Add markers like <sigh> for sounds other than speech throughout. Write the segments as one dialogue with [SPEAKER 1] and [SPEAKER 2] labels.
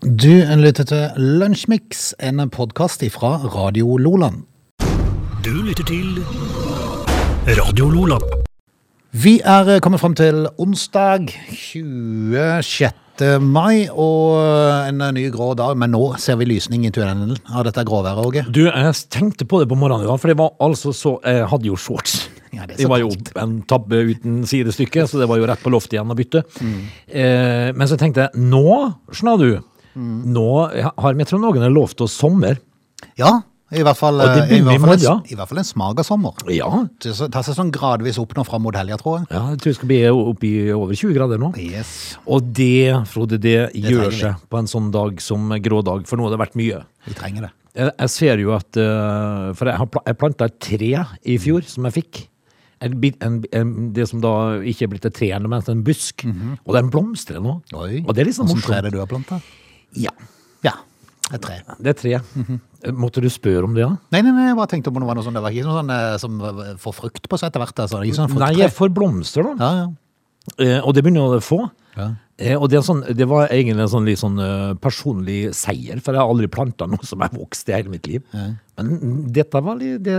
[SPEAKER 1] Du lytter til Lunsjmix, en podkast fra Radio Loland.
[SPEAKER 2] Du lytter til Radio Lola.
[SPEAKER 1] Vi er kommet fram til onsdag 26. mai, og en ny grå dag. Men nå ser vi lysning i tunnelen av dette gråværet, Åge.
[SPEAKER 3] Du, jeg tenkte på det på morgenen i dag, for det var altså så Jeg hadde jo shorts.
[SPEAKER 1] <laughs> Ja, det er
[SPEAKER 3] det, var jo
[SPEAKER 1] sant.
[SPEAKER 3] en tabbe uten sidestykke, så det var jo rett på loftet igjen å bytte.
[SPEAKER 1] Mm.
[SPEAKER 3] Eh, men så tenkte jeg, nå, Snadu,
[SPEAKER 1] Mm.
[SPEAKER 3] nå har meteorologene lovt oss sommer.
[SPEAKER 1] Ja, i hvert fall,
[SPEAKER 3] Og det
[SPEAKER 1] i
[SPEAKER 3] begynner
[SPEAKER 1] hvert
[SPEAKER 3] i
[SPEAKER 1] fall, en,
[SPEAKER 3] morgen.
[SPEAKER 1] i hvert fall en smager sommer.
[SPEAKER 3] Ja.
[SPEAKER 1] Det så- tar seg sånn gradvis opp nå fram mot helga, tror jeg.
[SPEAKER 3] ja jeg tror det skal bli oppe i over 20 grader nå.
[SPEAKER 1] Yes.
[SPEAKER 3] Og det, Frode, det,
[SPEAKER 1] trenger
[SPEAKER 3] gjør
[SPEAKER 1] vi.
[SPEAKER 3] seg på en sånn dag som grå dag, for nå har det vært mye.
[SPEAKER 1] Vi trenger det.
[SPEAKER 3] Jeg, jeg ser jo at eh, For jeg, har pla- jeg planta et tre
[SPEAKER 1] Mm.
[SPEAKER 3] i fjor som jeg fikk. En, bit- en, en, det som da ikke er blitt et tre, men en busk. Og den blomstrer nå.
[SPEAKER 1] Mhm. Oi.
[SPEAKER 3] Og det er litt sånn
[SPEAKER 1] Hvordan tre er
[SPEAKER 3] morsomt.
[SPEAKER 1] det du har planta?
[SPEAKER 3] Ja,
[SPEAKER 1] Ja, et tre.
[SPEAKER 3] det er tre.
[SPEAKER 1] Mhm.
[SPEAKER 3] Eh, Måtte du spørre om det, da?
[SPEAKER 1] Nei, nei, nei, jeg bare tenkte om det var noe sånn, det var ikke noe sånn eh, som eh, får frukt på seg etter hvert. Altså. Det er ikke sånn
[SPEAKER 3] Nei,
[SPEAKER 1] frukttre.
[SPEAKER 3] jeg får blomster, da.
[SPEAKER 1] Ja, ja.
[SPEAKER 3] Eh, og det begynner jeg å få.
[SPEAKER 1] Ja.
[SPEAKER 3] Eh, og det, er sånn, det var egentlig en sånn, litt sånn eh, personlig seier, for jeg har aldri planta noe som har vokst i hele mitt liv. Men dette, var litt, det,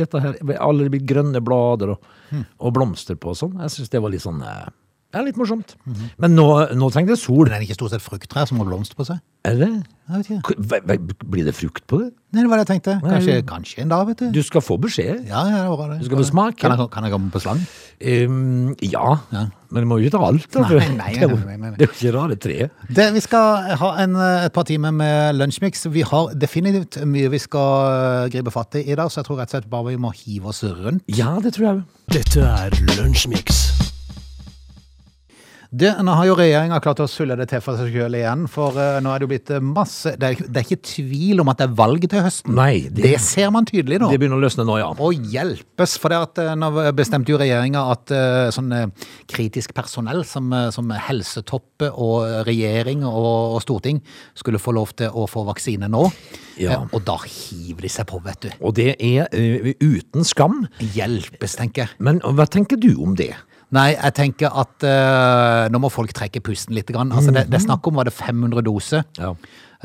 [SPEAKER 3] dette her Alle de grønne blader og,
[SPEAKER 1] Hmm.
[SPEAKER 3] og blomster på og sånn. Jeg syns det var litt sånn eh, ja, litt morsomt.
[SPEAKER 1] Mhm.
[SPEAKER 3] Men nå, nå trenger det sol.
[SPEAKER 1] Men er det ikke stort sett frukttrær som har blomster på seg?
[SPEAKER 3] Er det?
[SPEAKER 1] Jeg vet ikke.
[SPEAKER 3] K- hva- hva- Blir det frukt på det?
[SPEAKER 1] Nei, det var det jeg tenkte. Kanskje,
[SPEAKER 3] Nei.
[SPEAKER 1] kanskje en dag, vet du.
[SPEAKER 3] Du skal få beskjed.
[SPEAKER 1] Ja, ja, det var det.
[SPEAKER 3] Du skal få smake.
[SPEAKER 1] Kan jeg, kan jeg komme på slang?
[SPEAKER 3] Em, ja. Men du må jo ikke ta alt. Da, for
[SPEAKER 1] Nei,
[SPEAKER 3] <laughs>
[SPEAKER 1] nei,
[SPEAKER 3] det er jo-
[SPEAKER 1] nei, nei, nei.
[SPEAKER 3] Det er jo ikke rare treet.
[SPEAKER 1] Det, vi skal ha en, eh, et par timer med lunsjmix. Vi har definitivt mye vi skal eh, gripe fatt i i dag, så jeg tror rett og slett bare vi må hive oss rundt.
[SPEAKER 3] Ja, det tror jeg òg.
[SPEAKER 2] Dette er Lunsjmix.
[SPEAKER 1] Det, nå har jo regjeringa klart å sulle det til for seg sjøl igjen, for eh, nå er det jo blitt eh, masse det er, ikke- det er ikke tvil om at det er valg til høsten.
[SPEAKER 3] Nei, det-
[SPEAKER 1] det ser man tydelig nå.
[SPEAKER 3] Det begynner å løsne nå, ja.
[SPEAKER 1] Og hjelpes, for det at eh, nå bestemte jo regjeringa at eh, sånn eh, kritisk personell som, eh, som helsetoppe og regjering og, og storting skulle få lov til å få vaksine nå.
[SPEAKER 3] Ja.
[SPEAKER 1] Eh, Og da hiver de seg på, vet du.
[SPEAKER 3] Og det er eh, uten skam.
[SPEAKER 1] Hjelpes, tenker jeg.
[SPEAKER 3] Men hva tenker du om det?
[SPEAKER 1] Nei, jeg tenker at eh, nå må folk trekke pusten litt. Grann. Altså, det, det er snakk om var det 500 doser.
[SPEAKER 3] Ja.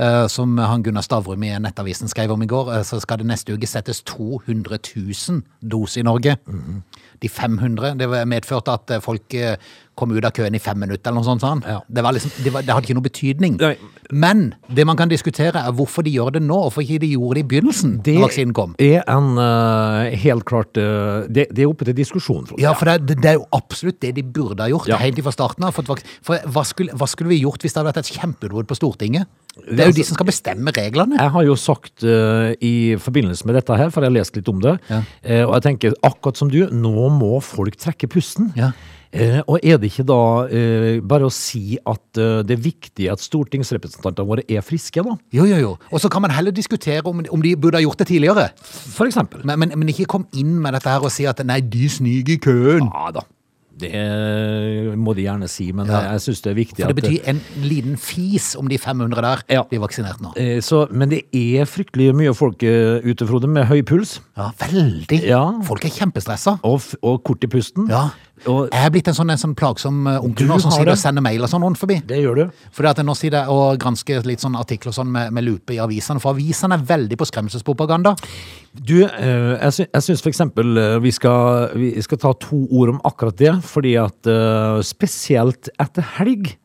[SPEAKER 1] eh, som han Gunnar Stavrum i Nettavisen skrev om i går, eh, så skal det neste uke settes 200 000 doser i Norge. De 500. Det var- medførte at eh, folk eh, kom ut av køen i fem minutter, eller noe sånt. sa han.
[SPEAKER 3] Ja.
[SPEAKER 1] Det, var liksom, det, var, det hadde ikke noe betydning.
[SPEAKER 3] Nei.
[SPEAKER 1] Men det man kan diskutere, er hvorfor de gjør det nå, og hvorfor ikke de gjorde det i begynnelsen,
[SPEAKER 3] Det
[SPEAKER 1] når vaksinen kom.
[SPEAKER 3] er en eh, helt klart eh, det, det er oppe til diskusjon, Frode.
[SPEAKER 1] Ja, for det, er- det er jo absolutt det de burde ha gjort
[SPEAKER 3] Ja.
[SPEAKER 1] helt fra starten av. fått vaks- For hva skulle, hva skulle vi gjort hvis det hadde vært et kjempeutbrudd på Stortinget? Det er jo de
[SPEAKER 3] altså-
[SPEAKER 1] som skal bestemme reglene.
[SPEAKER 3] Jeg har jo sagt eh, i forbindelse med dette her, for jeg har lest litt om det,
[SPEAKER 1] Ja.
[SPEAKER 3] eh, og jeg tenker akkurat som du, nå må folk trekke pusten.
[SPEAKER 1] Ja.
[SPEAKER 3] Eh, og er det ikke da eh, bare å si at eh, det er viktig at stortingsrepresentantene våre er friske, da?
[SPEAKER 1] Jo, jo, jo. Og så kan man heller diskutere om, om de burde ha gjort det tidligere.
[SPEAKER 3] For eksempel.
[SPEAKER 1] Men, men, men ikke kom inn med dette her og si at nei, de sniker i køen.
[SPEAKER 3] Ja da. Det må de gjerne si, men
[SPEAKER 1] Ja.
[SPEAKER 3] jeg, jeg syns det er viktig
[SPEAKER 1] For det
[SPEAKER 3] at eh,
[SPEAKER 1] betyr en liten fis om de 500 der
[SPEAKER 3] Ja.
[SPEAKER 1] blir vaksinert nå.
[SPEAKER 3] eh, så, Men det er fryktelig mye folk eh, ute, Frode, med høy puls
[SPEAKER 1] Ja, veldig.
[SPEAKER 3] Ja.
[SPEAKER 1] Folk er kjempestressa.
[SPEAKER 3] og, f og kort i pusten.
[SPEAKER 1] Ja.
[SPEAKER 3] Og
[SPEAKER 1] Jeg er blitt en sånn, en sånn plagsom eh, onkel
[SPEAKER 3] Du
[SPEAKER 1] nå som
[SPEAKER 3] har
[SPEAKER 1] sitter
[SPEAKER 3] det.
[SPEAKER 1] og sender mail og sånn rundt forbi.
[SPEAKER 3] det gjør du.
[SPEAKER 1] Fordi at jeg nå sitter jeg og gransker litt sånn artikler og sånn med, med lupe i avisene, for avisene er veldig på skremselspropaganda.
[SPEAKER 3] Du, eh, jeg, sy jeg syns for eksempel eh, vi skal, vi skal ta to ord om akkurat det, fordi at eh, spesielt etter helg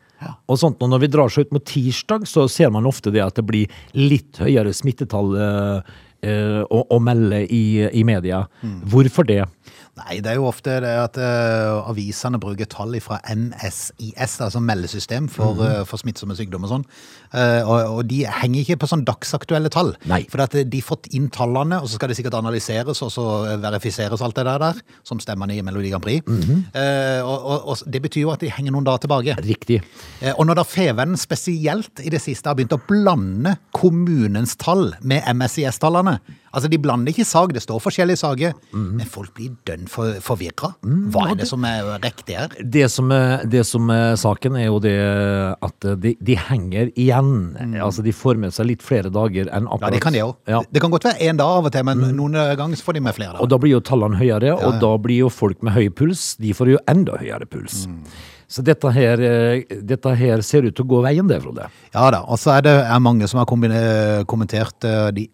[SPEAKER 3] og sånt, og når vi drar seg ut mot tirsdag, så ser man ofte det at det blir litt høyere smittetall eh, eh, å, å melde i, i media. Hvorfor det?
[SPEAKER 1] Nei, det er jo ofte det at eh, avisene bruker tall fra MSIS, altså meldesystem for, eh, for smittsomme sykdommer og sånn. Eh, og, og de henger ikke på sånn dagsaktuelle tall.
[SPEAKER 3] Nei.
[SPEAKER 1] For at eh, de har fått inn tallene, og så skal det sikkert analyseres, og så eh, verifiseres alt det der der, som stemmene i Melodi Grand Prix. Eh, og, og, og det betyr jo at de henger noen dager tilbake.
[SPEAKER 3] Riktig.
[SPEAKER 1] Eh, Og når da Fevennen spesielt i det siste har begynt å blande kommunens tall med MSIS-tallene Altså, de blander ikke sag, det står forskjellige saker, men folk blir dønn for, forvirra. Hva er Mhm. det som er riktig her?
[SPEAKER 3] Det som, er, det som er saken, er jo det at de, de henger igjen. Altså, de får med seg litt flere dager enn
[SPEAKER 1] Mm. Ja, Mhm.
[SPEAKER 3] akkurat
[SPEAKER 1] det kan de òg.
[SPEAKER 3] Ja.
[SPEAKER 1] Det kan godt være én dag av og til, men noen ganger så får de med flere.
[SPEAKER 3] Og
[SPEAKER 1] dager. Mm.
[SPEAKER 3] da blir jo tallene høyere, og da blir jo folk med høy puls, de får jo enda høyere puls. Så dette her, eh, dette her ser ut til å gå veien, det, Frode.
[SPEAKER 1] Ja da, og så er det er mange som har kombine- kommentert eh, de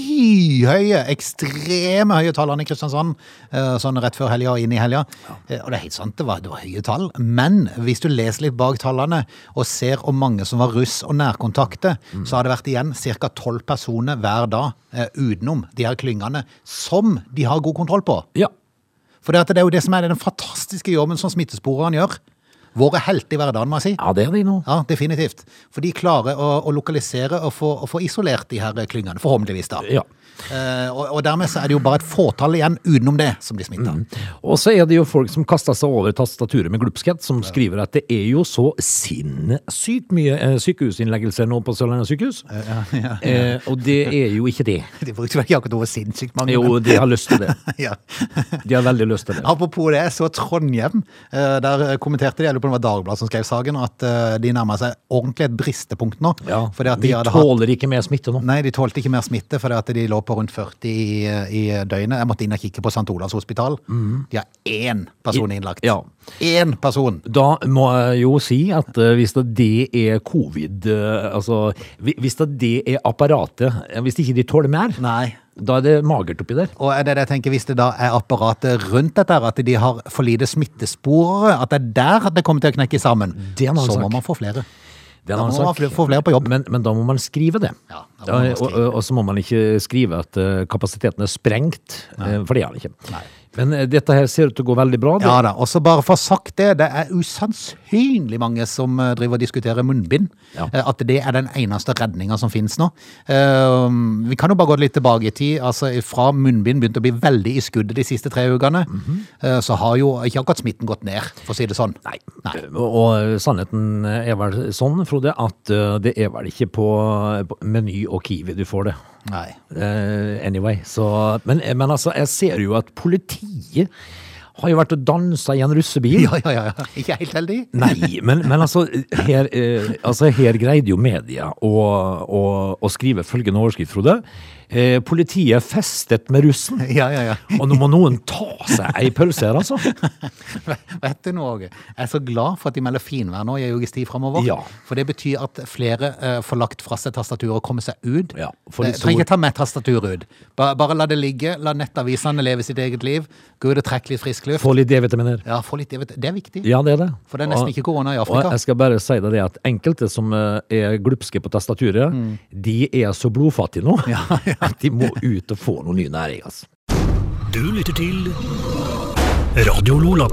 [SPEAKER 1] skyhøye, ekstreme høye tallene i Kristiansand, eh, sånn rett før helga og inn i helga. Eh, Og det er helt sant, det var, det var høye tall, men hvis du leser litt bak tallene og ser om mange som var russ og nærkontakter, så har det vært igjen ca. tolv personer hver dag eh, utenom de her klyngene, som de har god kontroll på.
[SPEAKER 3] Ja.
[SPEAKER 1] For det, at det er jo det som er den fantastiske jobben som smittesporene gjør. Våre helter i hverdagen, må jeg si.
[SPEAKER 3] Ja, det er de nå.
[SPEAKER 1] Ja, definitivt. For de klarer å, å lokalisere og få, og få isolert de her klyngene, forhåpentligvis da.
[SPEAKER 3] Ja.
[SPEAKER 1] Eh, og, og dermed så er det jo bare et fåtall igjen utenom det som blir smitta.
[SPEAKER 3] Mm. Og så er det jo folk som kaster seg over tastaturet med glupskhet, som skriver at det er jo så sinnssykt mye eh, sykehusinnleggelser nå på Sørlandet sykehus. Eh, og det er jo ikke det.
[SPEAKER 1] <laughs> De brukte vel ikke akkurat ordet sinnssykt mange.
[SPEAKER 3] Jo,
[SPEAKER 1] men- <laughs>
[SPEAKER 3] de har lyst til det.
[SPEAKER 1] Ja.
[SPEAKER 3] De har veldig lyst <laughs> til det.
[SPEAKER 1] Apropos det, jeg så Trondheim. eh, Der kommenterte de, jeg lurer på om det var Dagbladet som skrev saken, at eh, de nærma seg ordentlig et bristepunkt nå.
[SPEAKER 3] Ja,
[SPEAKER 1] fordi at de,
[SPEAKER 3] de
[SPEAKER 1] hadde hatt
[SPEAKER 3] tåler ikke mer smitte nå.
[SPEAKER 1] Nei, de tålte ikke mer smitte fordi at de lå på rundt 40 i, i døgnet. Jeg måtte inn og kikke på St. Olavs hospital. De har én person innlagt.
[SPEAKER 3] Mm. Ja.
[SPEAKER 1] Én person!
[SPEAKER 3] Da må jeg jo si at eh, hvis det- det er covid, eh, altså hvi- hvis det- det er apparatet, eh, hvis ikke de tåler mer,
[SPEAKER 1] Nei.
[SPEAKER 3] da er det magert oppi der.
[SPEAKER 1] Og er det det jeg tenker, hvis det da er apparatet rundt dette, her, at de har for lite smittesporere, at det er der det kommer til å knekke sammen,
[SPEAKER 3] Det er en annen
[SPEAKER 1] så må
[SPEAKER 3] sak.
[SPEAKER 1] man få flere.
[SPEAKER 3] Det er
[SPEAKER 1] Da
[SPEAKER 3] en
[SPEAKER 1] må
[SPEAKER 3] annen
[SPEAKER 1] man
[SPEAKER 3] sak.
[SPEAKER 1] fl- få flere på jobb.
[SPEAKER 3] Men, men da må man skrive det. Eh,
[SPEAKER 1] Ja, da må man skrive
[SPEAKER 3] Og, og, og så må man ikke skrive at eh, kapasiteten er sprengt, eh, for det er den ikke. Men eh, dette her ser ut til å gå veldig bra. det.
[SPEAKER 1] Ja da, og så bare for å ha sagt det, det er usannsynlig mange som eh, driver og diskuterer munnbind.
[SPEAKER 3] Ja.
[SPEAKER 1] Eh, At det er den eneste redninga som finnes nå. Eh, Vi kan jo bare gå litt tilbake i tid. altså Fra munnbind begynte å bli veldig i skuddet de siste tre ukene,
[SPEAKER 3] Mhm.
[SPEAKER 1] eh, så har jo ikke akkurat smitten gått ned, for å si det sånn.
[SPEAKER 3] Nei. Og og sannheten er vel sånn, Frode, at eh, det er vel ikke på, på Meny og Kiwi du får det.
[SPEAKER 1] Nei.
[SPEAKER 3] Eh, anyway, så men, men altså, jeg ser jo at politiet har jo vært og dansa i en russebil.
[SPEAKER 1] <laughs> Ja, ja, ja. ja. Ikke helt heldig.
[SPEAKER 3] Nei, men, men altså, her, eh, altså Her greide jo media å, å, å skrive følgende overskrift, Frode. Eh, politiet festet med russen.
[SPEAKER 1] Ja, ja, ja.
[SPEAKER 3] Og nå må noen ta seg ei pølse her, altså.
[SPEAKER 1] <laughs> Vet du noe? Åge? Jeg er så glad for at de melder finvær nå i ei ukes tid framover.
[SPEAKER 3] Ja.
[SPEAKER 1] For det betyr at flere eh, får lagt fra seg tastaturet og kommer seg ut.
[SPEAKER 3] Ja, for de
[SPEAKER 1] Jeg trenger
[SPEAKER 3] store-
[SPEAKER 1] ikke ta med tastaturet ut. Bare, bare la det ligge. La nettavisene leve sitt eget liv. Gå ut og trekk litt frisk luft.
[SPEAKER 3] Få litt D-vitaminer.
[SPEAKER 1] Ja, få litt, jeg vet, Det er viktig.
[SPEAKER 3] Ja, det er det.
[SPEAKER 1] For det er nesten
[SPEAKER 3] Og-
[SPEAKER 1] ikke korona i
[SPEAKER 3] Og
[SPEAKER 1] Afrika.
[SPEAKER 3] jeg skal bare si deg det at enkelte som eh, er glupske på tastaturet, de er så blodfattige nå at de må ut og få noe ny næring, altså.
[SPEAKER 2] Du lytter til Radio Lola.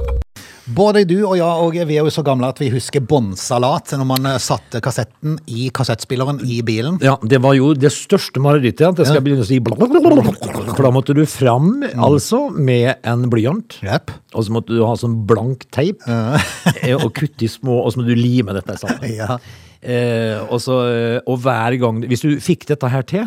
[SPEAKER 1] Både du og jeg Åge, vi er jo så gamle at vi husker båndsalat når man eh, satte kassetten i kassettspilleren i bilen.
[SPEAKER 3] Ja, det var jo det største marerittet. At jeg skal begynne å si blablabla. For da måtte du fram, altså, med en blyant.
[SPEAKER 1] Jep.
[SPEAKER 3] Og så måtte du ha sånn blank teip eh, og kutte i små, og så må du lime dette sammen.
[SPEAKER 1] <laughs> Ja.
[SPEAKER 3] Eh, og, så, eh, og hver gang Hvis du fikk dette her til,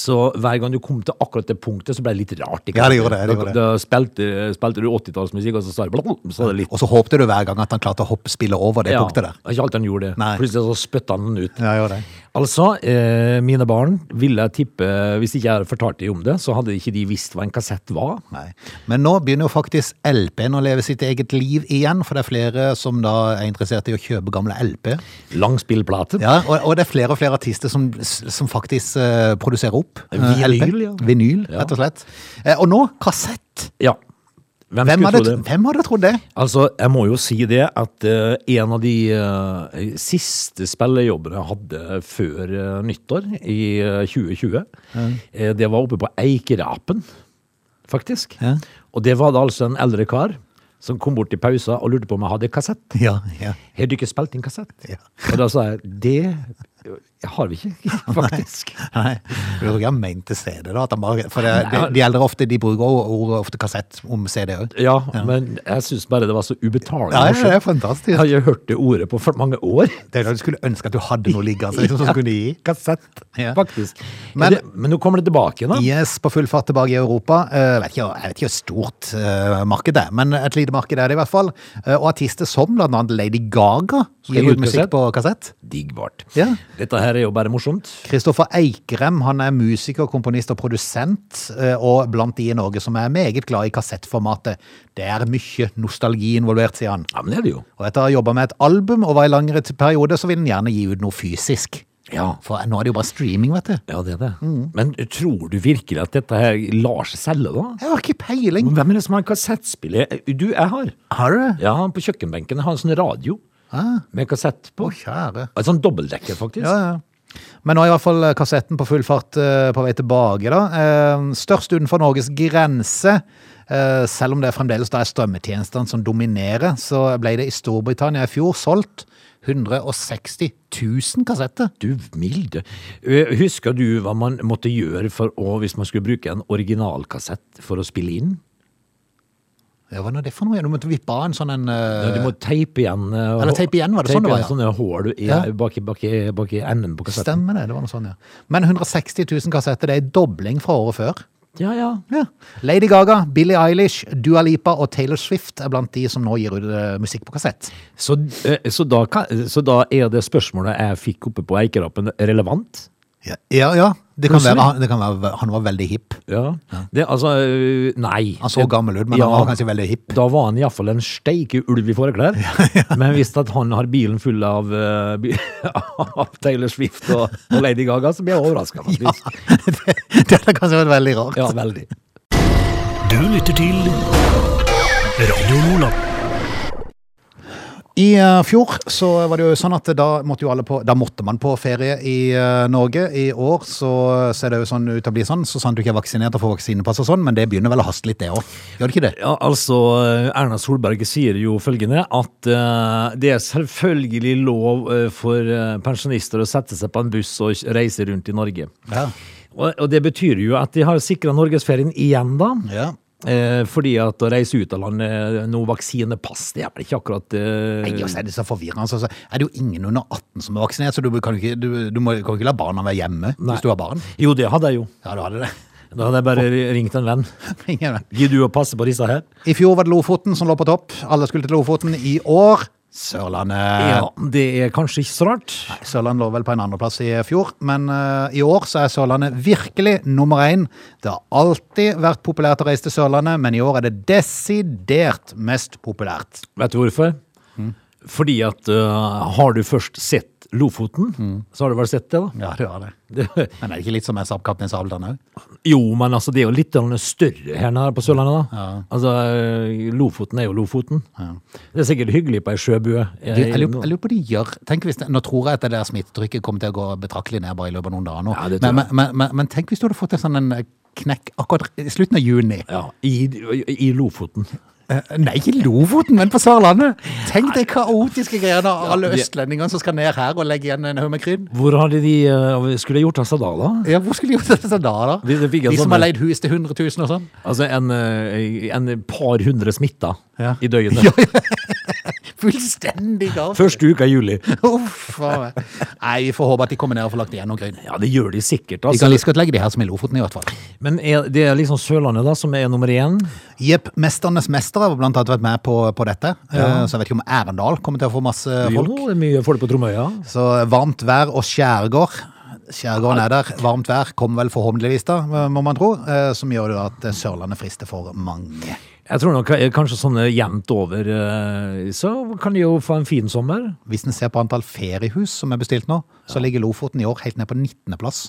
[SPEAKER 3] så hver gang du kom til akkurat det punktet, så ble det litt rart. ikke
[SPEAKER 1] Mm. Ja, det
[SPEAKER 3] sant?
[SPEAKER 1] gjorde det, det
[SPEAKER 3] Da,
[SPEAKER 1] gjorde det.
[SPEAKER 3] da spilte, spilte du 80-tallsmusikk, og så sa det blablabla, så var det litt
[SPEAKER 1] Og så håpte du hver gang at han klarte å hoppe spille over det punktet der.
[SPEAKER 3] Ikke alltid han gjorde det.
[SPEAKER 1] Nei.
[SPEAKER 3] Plutselig så spytta han den ut.
[SPEAKER 1] Ja, gjør det.
[SPEAKER 3] Altså, eh, mine barn ville jeg tippe Hvis ikke jeg hadde fortalt dem om det, så hadde ikke de visst hva en kassett var.
[SPEAKER 1] Nei. Men nå begynner jo faktisk LP-en å leve sitt eget liv igjen, for det er flere som da er interessert i å kjøpe gamle LP.
[SPEAKER 3] Lang spillplate.
[SPEAKER 1] Ja, og, og det er flere og flere artister som, som faktisk eh, produserer opp eh,
[SPEAKER 3] Vinyl,
[SPEAKER 1] LP.
[SPEAKER 3] ja.
[SPEAKER 1] Vinyl,
[SPEAKER 3] Ja.
[SPEAKER 1] rett og slett. Eh, og nå kassett!
[SPEAKER 3] Ja. Hvem,
[SPEAKER 1] Hvem
[SPEAKER 3] skulle
[SPEAKER 1] hadde,
[SPEAKER 3] tro det?
[SPEAKER 1] hvem hadde trodd det? <laughs>
[SPEAKER 3] Altså, jeg må jo si det at eh, en av de eh, siste spillejobbene jeg hadde før eh, nyttår i eh, 2020, eh, det var oppe på Eikerapen, faktisk.
[SPEAKER 1] Ja.
[SPEAKER 3] Og det var det altså en eldre kar som kom bort i pausa og lurte på om jeg hadde kassett.
[SPEAKER 1] Ja, ja.
[SPEAKER 3] Har du ikke spilt inn kassett?
[SPEAKER 1] Ja.
[SPEAKER 3] Og da sa jeg det har vi ikke, <laughs> faktisk.
[SPEAKER 1] Nei, jeg tror ikke han mente CD, da. At han bare, for det, de, de eldre ofte, de bruker jo ordet ofte kassett om CD òg.
[SPEAKER 3] Ja, men jeg syns bare det var så ubetalende.
[SPEAKER 1] Ja, ja, det er
[SPEAKER 3] morsomt.
[SPEAKER 1] fantastisk.
[SPEAKER 3] Jeg har ikke hørt det ordet på for mange år.
[SPEAKER 1] Det er da du skulle ønske at du hadde noe liggende liksom, som kunne gi.
[SPEAKER 3] Kassett,
[SPEAKER 1] Ja.
[SPEAKER 3] faktisk.
[SPEAKER 1] Men-
[SPEAKER 3] Men, det, men nå kommer det tilbake igjen, da.
[SPEAKER 1] Yes, på full fart tilbake i Europa. Eh, vet ikke, jeg vet ikke hvor stort eh, marked det er, men et lite marked er det i hvert fall. Eh, og artister som bl.a. Lady Gaga
[SPEAKER 3] gi
[SPEAKER 1] gir
[SPEAKER 3] ut
[SPEAKER 1] ut musikk
[SPEAKER 3] kassett.
[SPEAKER 1] på kassett.
[SPEAKER 3] Diggbart.
[SPEAKER 1] Ja.
[SPEAKER 3] Dette her her er jo bare morsomt.
[SPEAKER 1] Kristoffer Eikrem han er musiker, komponist og produsent, eh, og blant de i Norge som er meget glad i kassettformatet. Det er mye nostalgi involvert, sier han.
[SPEAKER 3] Ja, men det er det jo.
[SPEAKER 1] Og etter å ha jobba med et album over en langere t- periode, så vil han gjerne gi ut noe fysisk.
[SPEAKER 3] Ja. Mm.
[SPEAKER 1] For nå er det jo bare streaming, vet du.
[SPEAKER 3] Ja, det er det. Men tror du virkelig at dette her lar seg selge, da?
[SPEAKER 1] Jeg har ikke peiling.
[SPEAKER 3] Men Hvem er det som har kassettspiller? Du, jeg har.
[SPEAKER 1] Har du det?
[SPEAKER 3] Ja, han på kjøkkenbenken har en sånn radio
[SPEAKER 1] Ah.
[SPEAKER 3] med kassett
[SPEAKER 1] Å,
[SPEAKER 3] på.
[SPEAKER 1] kjære.
[SPEAKER 3] En sånn dobbeltdekker, faktisk.
[SPEAKER 1] Ja, ja. Men nå er i hvert fall eh, kassetten på full fart eh, på vei tilbake, da. Eh, Størst utenfor Norges grense. Eh, Selv om det fremdeles da er strømmetjenestene som dominerer, så ble det i Storbritannia i fjor solgt 160 000 kassetter.
[SPEAKER 3] Du milde. Eh, Husker du hva man måtte gjøre for å, hvis man skulle bruke en originalkassett for å spille inn?
[SPEAKER 1] Ja, hva er nå det for noe? Du måtte vippe av en sånn en eh,
[SPEAKER 3] Ja, du må teipe igjen eh,
[SPEAKER 1] Eller teipe igjen, var det sånn det var, ja?
[SPEAKER 3] igjen sånne hull i,
[SPEAKER 1] Ja.
[SPEAKER 3] bak, i- bak, i- bak i enden på kassetten.
[SPEAKER 1] Stemmer det. det var noe sånn, ja. Men 160 000 kassetter, det er en dobling fra året før.
[SPEAKER 3] Ja, ja.
[SPEAKER 1] Ja. Lady Gaga, Billie Eilish, Dua Lipa og Taylor Swift er blant de som nå gir ut eh, musikk på kassett.
[SPEAKER 3] Så, eh, så, da, kan- så da er det spørsmålet jeg fikk oppe på Eikerapen, relevant?
[SPEAKER 1] Ja, ja. ja. Det, kan
[SPEAKER 3] Plutselig.
[SPEAKER 1] være, han- det kan være han var veldig hipp.
[SPEAKER 3] Ja. Det, altså, øh, nei.
[SPEAKER 1] Han så gammel ut, men
[SPEAKER 3] Ja.
[SPEAKER 1] han var kanskje veldig hipp. <laughs>
[SPEAKER 3] Da var han iallfall en steike ulv i foreklær. Men hvis at han har bilen full av, øh, bi- <laughs> av Taylor Swift og, og Lady Gaga, så blir jeg
[SPEAKER 1] <laughs>
[SPEAKER 3] overraska, faktisk.
[SPEAKER 1] det, det hadde kanskje vært veldig rart.
[SPEAKER 3] Ja, veldig.
[SPEAKER 2] Du lytter til Radio Lola.
[SPEAKER 1] I eh, fjor så var det jo sånn at da måtte, jo alle på, da måtte man på ferie i eh, Norge. I år så ser det jo sånn ut til å bli sånn, så sant du ikke er vaksinert og får vaksinepass og sånn, men det begynner vel å haste litt det òg. Gjør det ikke det?
[SPEAKER 3] Ja, altså, øh, Erna Solberg sier jo følgende at øh, det er selvfølgelig lov øh, for øh, pensjonister å sette seg på en buss og reise rundt i Norge.
[SPEAKER 1] Ja.
[SPEAKER 3] Og, og det betyr jo at de har sikra norgesferien igjen, da.
[SPEAKER 1] Ja.
[SPEAKER 3] Eh, fordi at å reise ut av landet eh, noe vaksinepass, det er vel ikke akkurat eh,
[SPEAKER 1] Nei, altså. og så er det så forvirrende. Så så er det jo ingen under 18 som er vaksinert, så du kan jo ikke, du, du må, kan jo ikke la barna være hjemme
[SPEAKER 3] Nei.
[SPEAKER 1] hvis du har barn. <laughs>
[SPEAKER 3] Jo, det hadde jeg jo.
[SPEAKER 1] Ja, du hadde det.
[SPEAKER 3] Da hadde jeg bare ringt en venn.
[SPEAKER 1] Ingen vet.
[SPEAKER 3] Gidder du å passe på disse her?
[SPEAKER 1] I fjor var det Lofoten som lå på topp. Alle skulle til Lofoten. I år Sørlandet.
[SPEAKER 3] Ja, det er kanskje ikke så rart.
[SPEAKER 1] Sørlandet lå vel på en andreplass i fjor, men eh, i år så er Sørlandet virkelig nummer én. Det har alltid vært populært å reise til Sørlandet, men i år er det desidert mest populært.
[SPEAKER 3] Vet du hvorfor? Fordi at eh, har du først sett Lofoten, så har du vel sett det, da.
[SPEAKER 1] Mm. Ja, det var det.
[SPEAKER 3] Det, <laughs>
[SPEAKER 1] Men er det ikke litt som jeg sa på Kaptein Sabeltann òg?
[SPEAKER 3] jo, men altså, det er jo litt grann større her nede på Sørlandet, da. Altså, eh, Lofoten er jo Lofoten. Det er sikkert hyggelig på ei sjøbue. eh,
[SPEAKER 1] Du, Jeg lurer, jeg lurer på hva de gjør Tenk hvis det, Nå tror jeg at det der smittetrykket kommer til å gå betraktelig ned bare i løpet av noen dager nå.
[SPEAKER 3] Ja, det tror
[SPEAKER 1] men, men, men, men, men tenk hvis du hadde fått en sånn en knekk akkurat i slutten av juni.
[SPEAKER 3] Ja, i, I Lofoten.
[SPEAKER 1] Eh, Nei, ikke i Lofoten, men på Sørlandet. Tenk de kaotiske greiene av alle
[SPEAKER 3] Ja, de-
[SPEAKER 1] østlendingene som skal ned her og legge igjen en haug med krydder.
[SPEAKER 3] Hvor hadde de eh, Skulle de gjort av seg da, da?
[SPEAKER 1] Ja, hvor skulle de gjort det da, da?
[SPEAKER 3] De- de fikk en sånn-
[SPEAKER 1] som har leid hus til 100 000 og sånn.
[SPEAKER 3] Altså en, eh, en par hundre smitta
[SPEAKER 1] Ja.
[SPEAKER 3] i døgnet.
[SPEAKER 1] <laughs> Ja, ja. Fullstendig galt.
[SPEAKER 3] Første uka i juli.
[SPEAKER 1] <laughs> Uff, faen meg. Nei, vi får håpe at de kommer ned og får lagt igjen noen krydder.
[SPEAKER 3] Ja, det gjør de sikkert.
[SPEAKER 1] De
[SPEAKER 3] Altså.
[SPEAKER 1] kan like godt legge de her som i Lofoten, i hvert fall.
[SPEAKER 3] Men er, det er liksom Sørlandet da som er nummer én.
[SPEAKER 1] Jepp, Mesternes mestere har blant annet vært med på, på dette. Eh, Så jeg vet ikke om Erendal kommer til å få masse folk.
[SPEAKER 3] Jo, det er mye folk på Tromøya.
[SPEAKER 1] Så varmt vær og skjærgård. Skjærgården er der. Varmt vær kommer vel forhåpentligvis, da, må man tro. eh, Som gjør det at Sørlandet frister for mange.
[SPEAKER 3] Jeg tror nok eh, kanskje sånne jevnt over eh, Så kan de jo få en fin sommer.
[SPEAKER 1] Hvis en ser på antall feriehus som er bestilt nå, så ligger Lofoten i år helt ned på 19. plass.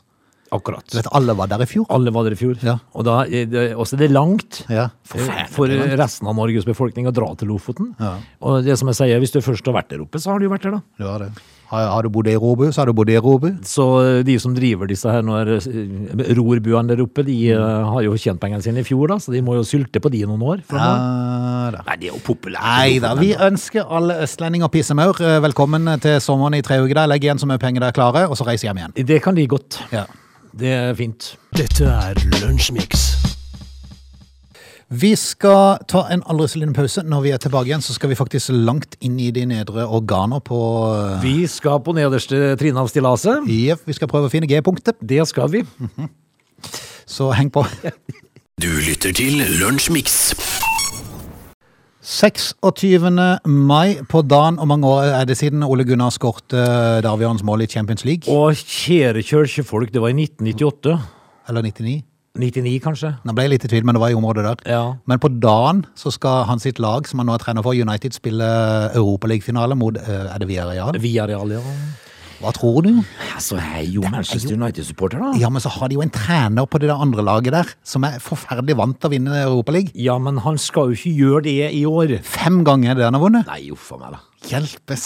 [SPEAKER 1] Du
[SPEAKER 3] Akkurat.
[SPEAKER 1] vet, alle var der i fjor.
[SPEAKER 3] Alle var der i fjor.
[SPEAKER 1] Ja.
[SPEAKER 3] Og da er det, også det er langt.
[SPEAKER 1] Ja.
[SPEAKER 3] eh, For resten av Norges befolkning å dra til Lofoten. Og det som jeg sier, hvis du først har vært der oppe, så har du jo vært der, da.
[SPEAKER 1] Du har det. Har, har du bodd i Robu, så har du bodd i Robu.
[SPEAKER 3] Så eh, de som driver disse her nå er, eh, rorbuene der oppe, de eh, har jo tjent pengene sine i fjor, da, så de må jo sylte på de i noen år.
[SPEAKER 1] Ja,
[SPEAKER 3] fremover.
[SPEAKER 1] da.
[SPEAKER 3] Nei, det er jo populært.
[SPEAKER 1] Nei da, vi ønsker alle østlendinger og pissemaur eh, velkommen til sommeren i tre uker. der. Legg igjen så mye penger dere klarer, og så reis hjem igjen.
[SPEAKER 3] Det kan de godt.
[SPEAKER 1] Ja.
[SPEAKER 3] Det er fint.
[SPEAKER 2] Dette er Lunsjmix.
[SPEAKER 1] Vi skal ta en aldri så liten pause. Når vi er tilbake igjen, så skal vi faktisk langt inn i de nedre organer på
[SPEAKER 3] Vi skal på nederste trinn av stillaset.
[SPEAKER 1] Jepp, vi skal prøve å finne G-punktet,
[SPEAKER 3] Det skal vi.
[SPEAKER 1] så heng på.
[SPEAKER 2] Du lytter til Lunsjmix.
[SPEAKER 1] 26. mai på dagen, og mange år er det siden Ole Gunnar skårte eh, det avgjørende målet i Champions League.
[SPEAKER 3] Og kjære kirkefolk, det var i 1998.
[SPEAKER 1] Eller 99.
[SPEAKER 3] 99, kanskje?
[SPEAKER 1] Nå ble jeg litt i tvil, men det var i området der.
[SPEAKER 3] Ja.
[SPEAKER 1] Men på dagen så skal han sitt lag, som han nå er trener for, United, spille Europaliga-finale mot eh, Er det Villarreal?
[SPEAKER 3] Villarreal, ja.
[SPEAKER 1] Hva tror du?
[SPEAKER 3] Altså, jeg er jo Manchester United-supporter, da.
[SPEAKER 1] Ja, men så har de jo en trener på det der andre laget der, som er forferdelig vant til å vinne Europaligaen.
[SPEAKER 3] Ja, men han skal jo ikke gjøre det i år.
[SPEAKER 1] Fem ganger det han har vunnet.
[SPEAKER 3] Nei, uff a meg, da.
[SPEAKER 1] Hjelpes.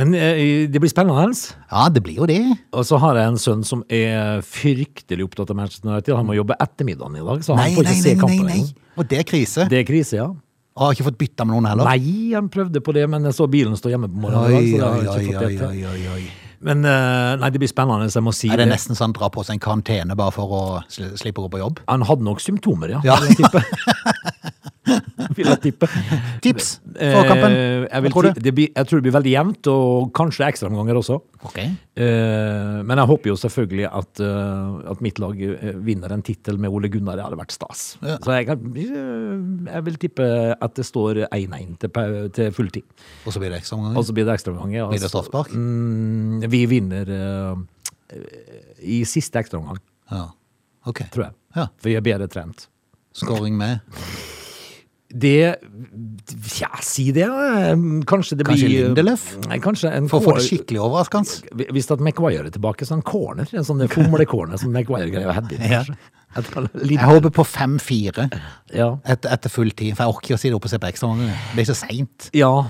[SPEAKER 3] Men eh, det blir spennende. Hans.
[SPEAKER 1] Ja, det blir jo det.
[SPEAKER 3] Og så har jeg en sønn som er fryktelig opptatt av Manchester United. Han må jobbe ettermiddagen i dag, så han
[SPEAKER 1] Nei,
[SPEAKER 3] får
[SPEAKER 1] nei,
[SPEAKER 3] ikke
[SPEAKER 1] nei,
[SPEAKER 3] se
[SPEAKER 1] nei,
[SPEAKER 3] kampen.
[SPEAKER 1] nei.
[SPEAKER 3] engang.
[SPEAKER 1] Og det er krise.
[SPEAKER 3] Det er krise, ja.
[SPEAKER 1] Og har ikke fått bytta med noen heller.
[SPEAKER 3] Nei, han prøvde på det, men jeg så bilen stå hjemme på
[SPEAKER 1] Oi,
[SPEAKER 3] morgenen. i
[SPEAKER 1] oi,
[SPEAKER 3] dag, så det har
[SPEAKER 1] oi,
[SPEAKER 3] jeg ikke fått
[SPEAKER 1] oi,
[SPEAKER 3] det til.
[SPEAKER 1] oi, oi, oi.
[SPEAKER 3] Men eh, nei, det blir spennende, så jeg må si
[SPEAKER 1] Er
[SPEAKER 3] det.
[SPEAKER 1] det nesten så han drar på seg en karantene bare for å sli- slippe å gå på jobb?
[SPEAKER 3] Han hadde nok symptomer, ja.
[SPEAKER 1] Ja.
[SPEAKER 3] Vil jeg tippe. vil jeg tippe.
[SPEAKER 1] <laughs> Tips for kampen?
[SPEAKER 3] Eh, jeg,
[SPEAKER 1] Hva
[SPEAKER 3] vil
[SPEAKER 1] tror
[SPEAKER 3] ti-
[SPEAKER 1] du?
[SPEAKER 3] Det blir, jeg tror det blir veldig jevnt, og kanskje ekstraomganger også.
[SPEAKER 1] Ok.
[SPEAKER 3] Eh, men jeg håper jo selvfølgelig at, eh, at mitt lag eh, vinner en tittel med Ole Gunnar. Det hadde vært stas.
[SPEAKER 1] Ja.
[SPEAKER 3] Så jeg, kan, eh, jeg vil tippe at det står 1-1 til, pau- til fulltid.
[SPEAKER 1] Og så blir det
[SPEAKER 3] Og
[SPEAKER 1] ekstraomganger?
[SPEAKER 3] så blir det ekstraomganger.
[SPEAKER 1] Blir det straffespark?
[SPEAKER 3] Mm, vi vinner eh, i siste ekstraomgang,
[SPEAKER 1] Ja. Ok.
[SPEAKER 3] tror jeg.
[SPEAKER 1] Ja.
[SPEAKER 3] For vi er bedre trent.
[SPEAKER 1] Scoring med
[SPEAKER 3] Det Ja, si det. eh, Kanskje det
[SPEAKER 1] Kanskje
[SPEAKER 3] blir
[SPEAKER 1] Lindelöf?
[SPEAKER 3] Nei, kanskje en
[SPEAKER 1] For å få det
[SPEAKER 3] kor-
[SPEAKER 1] skikkelig overraskende.
[SPEAKER 3] Hvis at McGuire er tilbake, så er han corner. En sånn fomlecorner som McGuire greier å heade inn.
[SPEAKER 1] Ja.
[SPEAKER 3] kanskje. Jeg tror han er litt-
[SPEAKER 1] Jeg håper på 5-4
[SPEAKER 3] Ja.
[SPEAKER 1] et, etter full tid, for jeg orker ikke å si det opp og se på ekstraomganger. Det blir så seint.
[SPEAKER 3] Ja,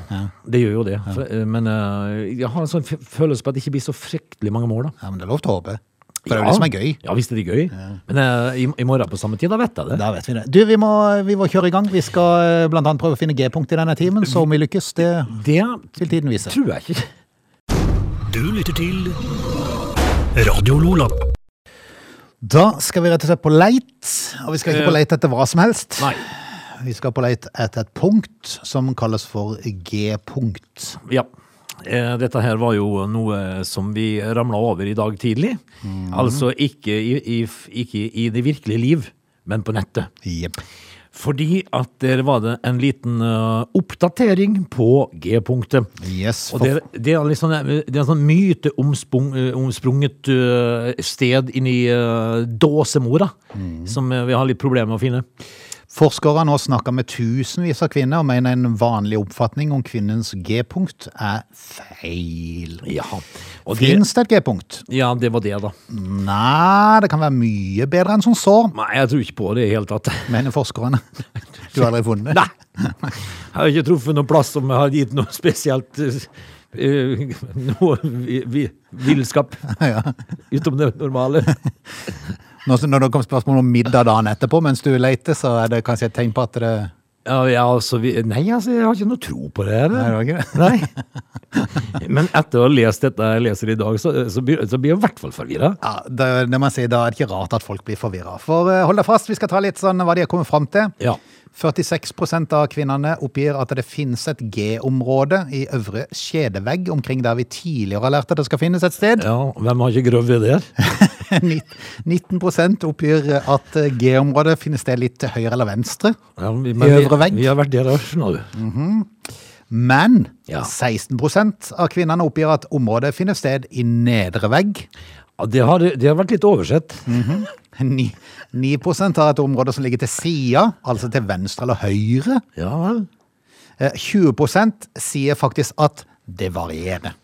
[SPEAKER 3] det gjør jo det. For, eh, Men eh, jeg har en sånn f- følelse på at det ikke blir så fryktelig mange mål, da.
[SPEAKER 1] Ja, men det er lov til å håpe. For det er
[SPEAKER 3] Ja.
[SPEAKER 1] jo det som er gøy.
[SPEAKER 3] Ja, visst er det gøy. Men eh, i, i morgen på samme tid, da vet jeg det.
[SPEAKER 1] Da vet vi det. Du, vi må, vi må kjøre i gang. Vi skal eh, blant annet prøve å finne G-punkt i denne timen, så om vi lykkes, det
[SPEAKER 3] Det
[SPEAKER 1] vil tiden vise.
[SPEAKER 3] tror jeg ikke.
[SPEAKER 2] Du lytter til Radio Lola.
[SPEAKER 1] Da skal vi rett og slett på leit, og vi skal ikke på leit etter hva som helst.
[SPEAKER 3] Eh. Nei.
[SPEAKER 1] Vi skal på leit etter et punkt som kalles for G-punkt.
[SPEAKER 3] Ja. Eh, Dette her var jo noe som vi ramla over i dag tidlig. Altså ikke i, i, f- ikke i det virkelige liv, men på nettet.
[SPEAKER 1] Jepp.
[SPEAKER 3] Fordi at der var det en liten eh, oppdatering på G-punktet.
[SPEAKER 1] Yes,
[SPEAKER 3] Og
[SPEAKER 1] for-
[SPEAKER 3] det, det er liksom det er en sånn myteomsprunget sted inni eh, dåsemora, som eh, vi har litt problemer med å finne.
[SPEAKER 1] Forskere har nå snakka med tusenvis av kvinner og mener en vanlig oppfatning om kvinnens G-punkt er feil.
[SPEAKER 3] Ja. Og det,
[SPEAKER 1] Fins det et G-punkt?
[SPEAKER 3] ja, det var det, da.
[SPEAKER 1] Nei, det kan være mye bedre enn som så,
[SPEAKER 3] Nei, jeg tror ikke på det i det hele tatt.
[SPEAKER 1] mener
[SPEAKER 3] <laughs>
[SPEAKER 1] forskerne. Du har aldri funnet det?
[SPEAKER 3] Nei. Jeg har ikke truffet noen plass som har gitt noe spesielt eh, noe vi, vi, villskap
[SPEAKER 1] Ja.
[SPEAKER 3] utom det normale.
[SPEAKER 1] Nå som- Når det kom spørsmål om middag dagen etterpå mens du leter, så er det kanskje et tegn på at det
[SPEAKER 3] Ja, ja, altså, vi, nei, altså, jeg har ikke noe tro på det her.
[SPEAKER 1] Nei, det var ikke det.
[SPEAKER 3] Nei. Men etter å ha lest dette jeg leser i dag, så, så, blir, så blir jeg i hvert fall forvirra.
[SPEAKER 1] <laughs> Ja, det, det må jeg si, Da er det ikke rart at folk blir forvirra. For eh, hold deg fast, vi skal ta litt sånn hva de har kommet fram til.
[SPEAKER 3] Ja.
[SPEAKER 1] 46 av kvinnene oppgir at det finnes et G-område i øvre skjedevegg, omkring der vi tidligere har lært at det skal finnes et sted. <laughs>
[SPEAKER 3] ja, hvem har ikke grøvd i det? her?
[SPEAKER 1] Ni- 19 oppgir at eh, G-området finner sted litt til høyre eller venstre.
[SPEAKER 3] Ja, vi-
[SPEAKER 1] I øvre vegg?
[SPEAKER 3] Vi, vi har vært der òg, skjønner du.
[SPEAKER 1] Men
[SPEAKER 3] Ja.
[SPEAKER 1] 16 av kvinnene oppgir at området finner sted i nedre vegg.
[SPEAKER 3] Ja, det, har, det har vært litt oversett.
[SPEAKER 1] 9, 9 har et område som ligger til sida, altså til venstre eller høyre.
[SPEAKER 3] Ja vel.
[SPEAKER 1] Eh, 20 sier faktisk at det varierer.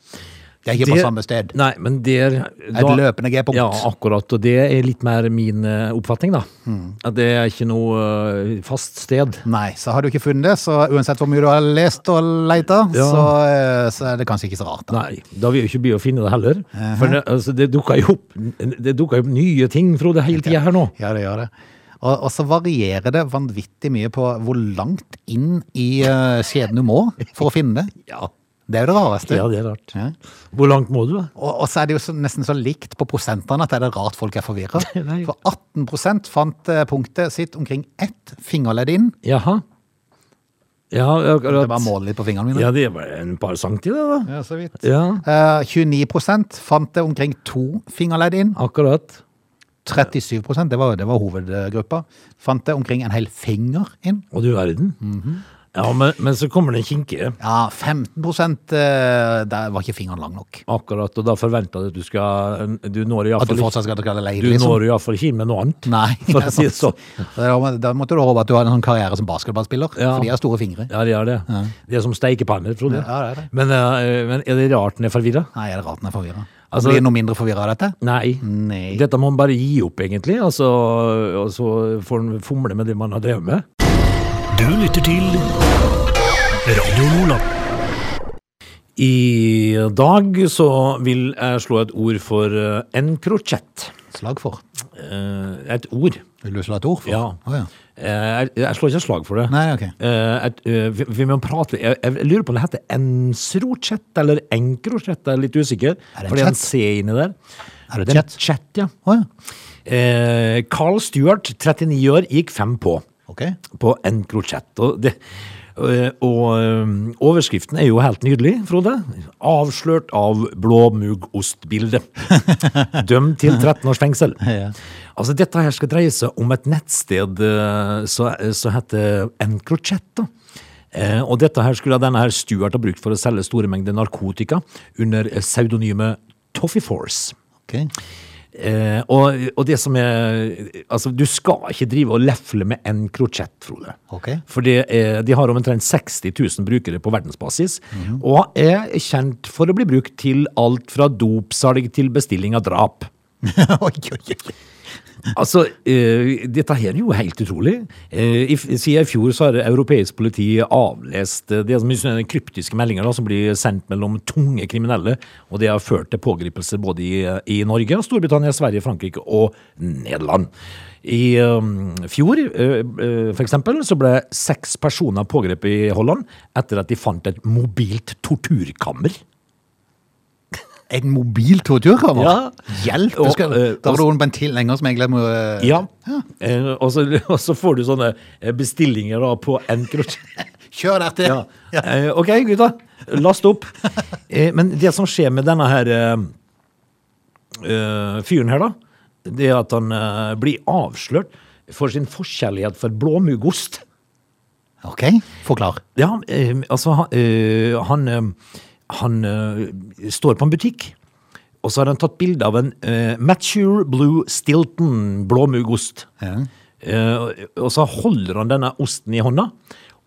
[SPEAKER 1] Det er ikke
[SPEAKER 3] Det-
[SPEAKER 1] på samme sted.
[SPEAKER 3] Nei, men der
[SPEAKER 1] Et løpende G-punkt.
[SPEAKER 3] Ja, akkurat. Og det er litt mer min eh, oppfatning, da.
[SPEAKER 1] Mm.
[SPEAKER 3] At det er ikke noe eh, fast sted.
[SPEAKER 1] Nei, så har du ikke funnet det, så uansett hvor mye du har lest og leita,
[SPEAKER 3] Ja.
[SPEAKER 1] så, eh, så er det kanskje ikke så rart. Da.
[SPEAKER 3] Nei, da vil jo ikke by å finne det heller. For det, altså, det dukker jo opp, det dukker jo opp nye ting, Frode, hele tida her nå.
[SPEAKER 1] Ja, det gjør det. Og, og så varierer det vanvittig mye på hvor langt inn i eh, skjeden du må for å finne det.
[SPEAKER 3] Ja,
[SPEAKER 1] Det er jo det rareste.
[SPEAKER 3] ja det er rart.
[SPEAKER 1] Ja.
[SPEAKER 3] Hvor langt må du, da?
[SPEAKER 1] Og, og så er det jo så, nesten så likt på prosentene at det er det rart folk er forvirra.
[SPEAKER 3] Nei.
[SPEAKER 1] For 18 fant eh, punktet sitt omkring ett fingerledd inn.
[SPEAKER 3] Jaha. Ja, akkurat.
[SPEAKER 1] Det var målet litt på fingrene mine.
[SPEAKER 3] Ja, det var en par centimeter, da.
[SPEAKER 1] Ja, så vidt.
[SPEAKER 3] Ja,
[SPEAKER 1] Eh, 29 fant det omkring to fingerledd inn.
[SPEAKER 3] akkurat.
[SPEAKER 1] 37 det var, det var hovedgruppa, fant det omkring en hel finger inn. Mhm.
[SPEAKER 3] Og du verden. Ja, men, men så kommer det en kinkere.
[SPEAKER 1] Ja, 15 eh, Der var ikke fingeren lang nok.
[SPEAKER 3] Akkurat, og da forventer jeg at du skal Du når
[SPEAKER 1] At du liksom?
[SPEAKER 3] iallfall
[SPEAKER 1] fortsatt skal drikke leir,
[SPEAKER 3] du når i hvert fall ikke inn med noe annet.
[SPEAKER 1] Nei.
[SPEAKER 3] <laughs> For
[SPEAKER 1] det
[SPEAKER 3] å
[SPEAKER 1] er
[SPEAKER 3] si det
[SPEAKER 1] sant.
[SPEAKER 3] sånn.
[SPEAKER 1] Da må- Da måtte du håpe at du har en sånn karriere som basketballspiller,
[SPEAKER 3] Ja.
[SPEAKER 1] for de har store fingre.
[SPEAKER 3] Ja, de gjør det. De er som steikepanner, Frode.
[SPEAKER 1] Ja, det er det.
[SPEAKER 3] Men, eh, men er det rart den er forvirra?
[SPEAKER 1] Nei, er det rart den er forvirra?
[SPEAKER 3] Altså-
[SPEAKER 1] Blir det noe mindre forvirra av dette?
[SPEAKER 3] Nei.
[SPEAKER 1] Nei.
[SPEAKER 3] Dette må man bare gi opp, egentlig, og så, og så får man fomle med det man har drevet med.
[SPEAKER 2] Du lytter til Radio Lola.
[SPEAKER 3] I dag så vil jeg slå et ord for eh, en krokett.
[SPEAKER 1] Slag for.
[SPEAKER 3] Eh, Et ord.
[SPEAKER 1] Vil du slå et ord for?
[SPEAKER 3] Ja.
[SPEAKER 1] Å, ja.
[SPEAKER 3] Eh, Jeg, jeg slår ikke et slag for det.
[SPEAKER 1] Nei, ok.
[SPEAKER 3] Eh, et, eh, vi, vi må prate jeg, jeg lurer på om det heter ensrochet eller enkrochet. Jeg er litt
[SPEAKER 1] Er
[SPEAKER 3] usikker.
[SPEAKER 1] det en
[SPEAKER 3] fordi han
[SPEAKER 1] chat?
[SPEAKER 3] ser inni der.
[SPEAKER 1] Er det
[SPEAKER 3] en
[SPEAKER 1] chat?
[SPEAKER 3] chat, ja.
[SPEAKER 1] Å ja.
[SPEAKER 3] Eh, Carl Stewart, 39 år, gikk fem på
[SPEAKER 1] Ok.
[SPEAKER 3] på enkrochet. Og, det, eh, og eh, overskriften er jo helt nydelig, Frode. Avslørt av blåmuggostbildet. Dømt til 13 års fengsel.
[SPEAKER 1] Ja.
[SPEAKER 3] Altså, dette her skal dreie seg om et nettsted eh, så, så heter Encrochet. da. Eh, og dette her skulle denne her Stuart ha brukt for å selge store mengder narkotika under pseudonymet Toffee Force.
[SPEAKER 1] ok.
[SPEAKER 3] Eh, og, og det som er Altså, du skal ikke drive og lefle med Encrochet, Frode.
[SPEAKER 1] Ok. <laughs>
[SPEAKER 3] For det er, de har omtrent 60 000 brukere på verdensbasis, og er kjent for å bli brukt til alt fra dopsalg til bestilling av drap.
[SPEAKER 1] oi, oi, oi.
[SPEAKER 3] Altså, eh, dette her er jo helt utrolig. Eh, i, f- siden i fjor så har europeisk politi avlest eh, det som er sånne kryptiske meldinger da, som blir sendt mellom tunge kriminelle, og det har ført til pågripelse både i, i Norge, Storbritannia, Sverige, Frankrike og Nederland. I eh, fjor, eh, eh, for eksempel, så ble seks personer pågrepet i Holland etter at de fant et mobilt torturkammer.
[SPEAKER 1] Et mobilt torturkammer?
[SPEAKER 3] Ja.
[SPEAKER 1] Hjelp! Du
[SPEAKER 3] Og,
[SPEAKER 1] skal,
[SPEAKER 3] eh,
[SPEAKER 1] da var
[SPEAKER 3] og-
[SPEAKER 1] det noen på en tilhenger som jeg glemmer å-
[SPEAKER 3] Eh, Ja, Eh, og, så, <laughs> og så får du sånne eh, bestillinger da på Encrochat.
[SPEAKER 1] Kjør dette!
[SPEAKER 3] <laughs>
[SPEAKER 1] <laughs>
[SPEAKER 3] Ja. Eh, ok, gutta. Last opp. Eh, men det som skjer med denne her eh, eh, fyren her, da, det er at han eh, blir avslørt for sin forskjellighet for blåmuggost.
[SPEAKER 1] Ok, forklar.
[SPEAKER 3] Ja, eh, altså han, eh, han, eh, han eh, står på en butikk, og så har han tatt bilde av en eh, Mature Blue Stilton blåmuggost.
[SPEAKER 1] Ja.
[SPEAKER 3] Eh, og så holder han denne osten i hånda.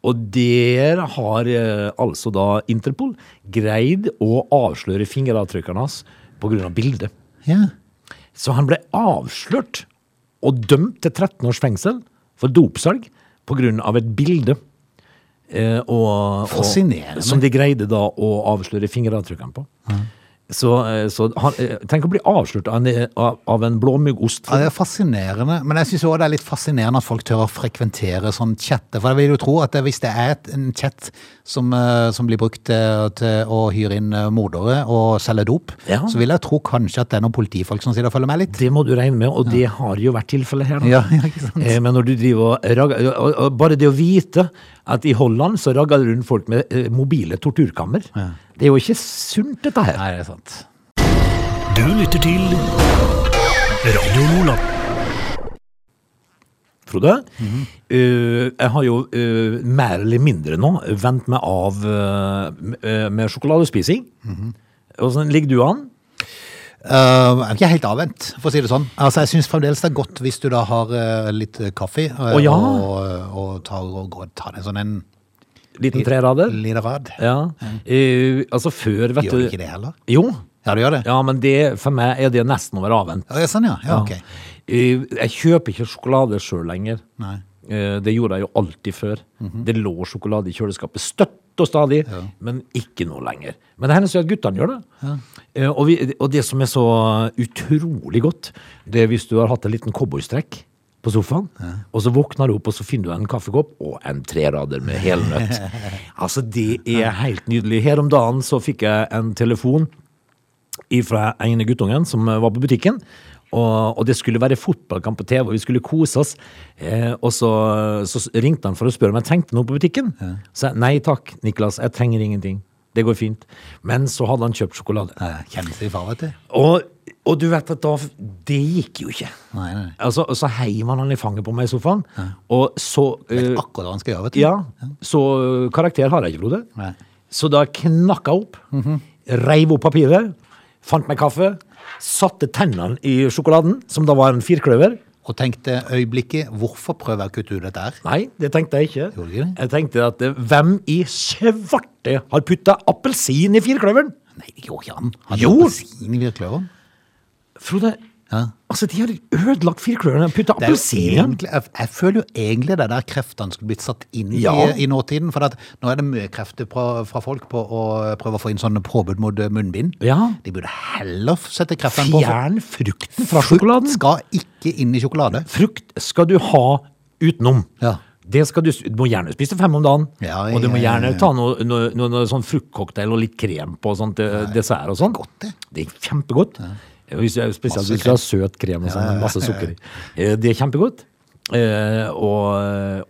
[SPEAKER 3] Og der har eh, altså da Interpol greid å avsløre fingeravtrykkene hans pga. bildet.
[SPEAKER 1] ja.
[SPEAKER 3] Så han ble avslørt og dømt til 13 års fengsel for dopsalg pga. et bilde. Eh, og,
[SPEAKER 1] Fascinerende.
[SPEAKER 3] Og, som de greide da å avsløre fingeravtrykkene på. Så, eh, så han, eh, tenk å bli avslørt av en, av, av en blåmuggost.
[SPEAKER 1] Ja, det er fascinerende, men jeg syns også det er litt fascinerende at folk tør å frekventere sånn chatte. For jeg vil jo tro at hvis det er et- en chat som, eh, som blir brukt til, til å hyre inn eh, mordere og selge dop,
[SPEAKER 3] Ja.
[SPEAKER 1] så vil jeg tro kanskje at det er noen politifolk som sitter og følger med litt.
[SPEAKER 3] Det må du regne med, og det har jo vært tilfellet her. da.
[SPEAKER 1] Ja, <laughs> ja, ikke sant?
[SPEAKER 3] Eh, Men når du driver og ragger og- og Bare det å vite at i Holland så ragger det rundt folk med eh, mobile torturkammer. Det er jo ikke sunt, dette her.
[SPEAKER 1] Nei, det er sant.
[SPEAKER 2] Du lytter til Radio Lola.
[SPEAKER 3] Frode.
[SPEAKER 1] Mhm.
[SPEAKER 3] Eh, jeg har jo eh, mer eller mindre nå vent meg av eh, m- eh, med sjokoladespising.
[SPEAKER 1] Mhm.
[SPEAKER 3] Åssen ligger du an?
[SPEAKER 1] Eh, jeg er ikke helt avvent, for å si det sånn. Altså, Jeg syns fremdeles det er godt hvis du da har eh, litt eh, kaffe eh,
[SPEAKER 3] Å, ja.
[SPEAKER 1] og, og tar, og går, tar deg sånn en
[SPEAKER 3] Liten trerader?
[SPEAKER 1] liten rad.
[SPEAKER 3] Ja. Eh, altså før, vet
[SPEAKER 1] Gjør du
[SPEAKER 3] du
[SPEAKER 1] ikke det heller?
[SPEAKER 3] Jo.
[SPEAKER 1] Ja, du gjør det?
[SPEAKER 3] Ja, men det, for meg er det nesten å være avvent.
[SPEAKER 1] Ja, sånn, ja. ja ok.
[SPEAKER 3] Eh, Jeg kjøper ikke sjokolade sjøl lenger.
[SPEAKER 1] Nei. Mhm.
[SPEAKER 3] Eh, Det gjorde jeg jo alltid før. Det lå sjokolade i kjøleskapet støtt og stadig, men ikke nå lenger. Men det hender seg at guttene gjør det. Eh, Og, vi, og det som er så utrolig godt, det er hvis du har hatt en liten cowboystrekk på sofaen, og så våkner du opp, og så finner du en kaffekopp og en trerader med helnøtt.
[SPEAKER 1] <laughs>
[SPEAKER 3] altså, det er helt nydelig. Her om dagen så fikk jeg en telefon fra ene guttungen som eh, var på butikken. Og, og det skulle være fotballkamp på TV, og vi skulle kose oss. Eh, og så, så ringte han for å spørre om jeg trengte noe på butikken. Så jeg nei takk, Niklas, jeg trenger ingenting. Det går fint. Men så hadde han kjøpt sjokolade.
[SPEAKER 1] Nei, Kjenner seg i far, vet du.
[SPEAKER 3] Og Og du vet at da Det gikk jo ikke.
[SPEAKER 1] Nei, nei, nei.
[SPEAKER 3] Altså, så heiv han han i fanget på meg i sofaen, og så eh,
[SPEAKER 1] Akkurat hva han skal gjøre, vet du.
[SPEAKER 3] Ja, så ø, karakter har jeg ikke, Frode.
[SPEAKER 1] Nei.
[SPEAKER 3] Så da knakk jeg opp, reiv opp papiret, fant meg kaffe, satte tennene i sjokoladen, som da var en firkløver.
[SPEAKER 1] Og tenkte øyeblikket, hvorfor prøver jeg å kutte ut dette her?
[SPEAKER 3] Nei, det tenkte jeg ikke.
[SPEAKER 1] Gjorde du ikke det?
[SPEAKER 3] Jeg tenkte at ø, hvem i svarte har putta appelsin i firkløveren?
[SPEAKER 1] Nei, det går ikke an. Han
[SPEAKER 3] Jo!
[SPEAKER 1] gjorde sin i virkeløveren.
[SPEAKER 3] Frode,
[SPEAKER 1] Ja.
[SPEAKER 3] altså de har ødelagt firkløveren og putta
[SPEAKER 1] Det er jo
[SPEAKER 3] appelsin i den.
[SPEAKER 1] egentlig, jeg, jeg føler jo egentlig det der kreftene skulle blitt satt inn
[SPEAKER 3] Ja.
[SPEAKER 1] i, i nåtiden. For at nå er det mye krefter fra, fra folk på å prøve å få inn sånne påbud mot eh, munnbind.
[SPEAKER 3] Ja.
[SPEAKER 1] De burde heller sette kreftene på. for
[SPEAKER 3] Fjern frukten fra
[SPEAKER 1] frukt
[SPEAKER 3] sjokoladen.
[SPEAKER 1] skal ikke inn i sjokolade.
[SPEAKER 3] Frukt skal du ha utenom.
[SPEAKER 1] Ja.
[SPEAKER 3] Det skal du, du må gjerne spise fem om dagen,
[SPEAKER 1] Ja,
[SPEAKER 3] og du må
[SPEAKER 1] ja, ja,
[SPEAKER 3] gjerne
[SPEAKER 1] ja.
[SPEAKER 3] ta noe, noe, noe, noe sånn fruktcocktail og litt krem på sånn til dessert og sånn.
[SPEAKER 1] godt, det.
[SPEAKER 3] Det er kjempegodt. Hvis du, spesielt
[SPEAKER 1] Masse
[SPEAKER 3] hvis du har søt krem og sånn, med masse sukker i. Eh, Det er kjempegodt. Eh, og,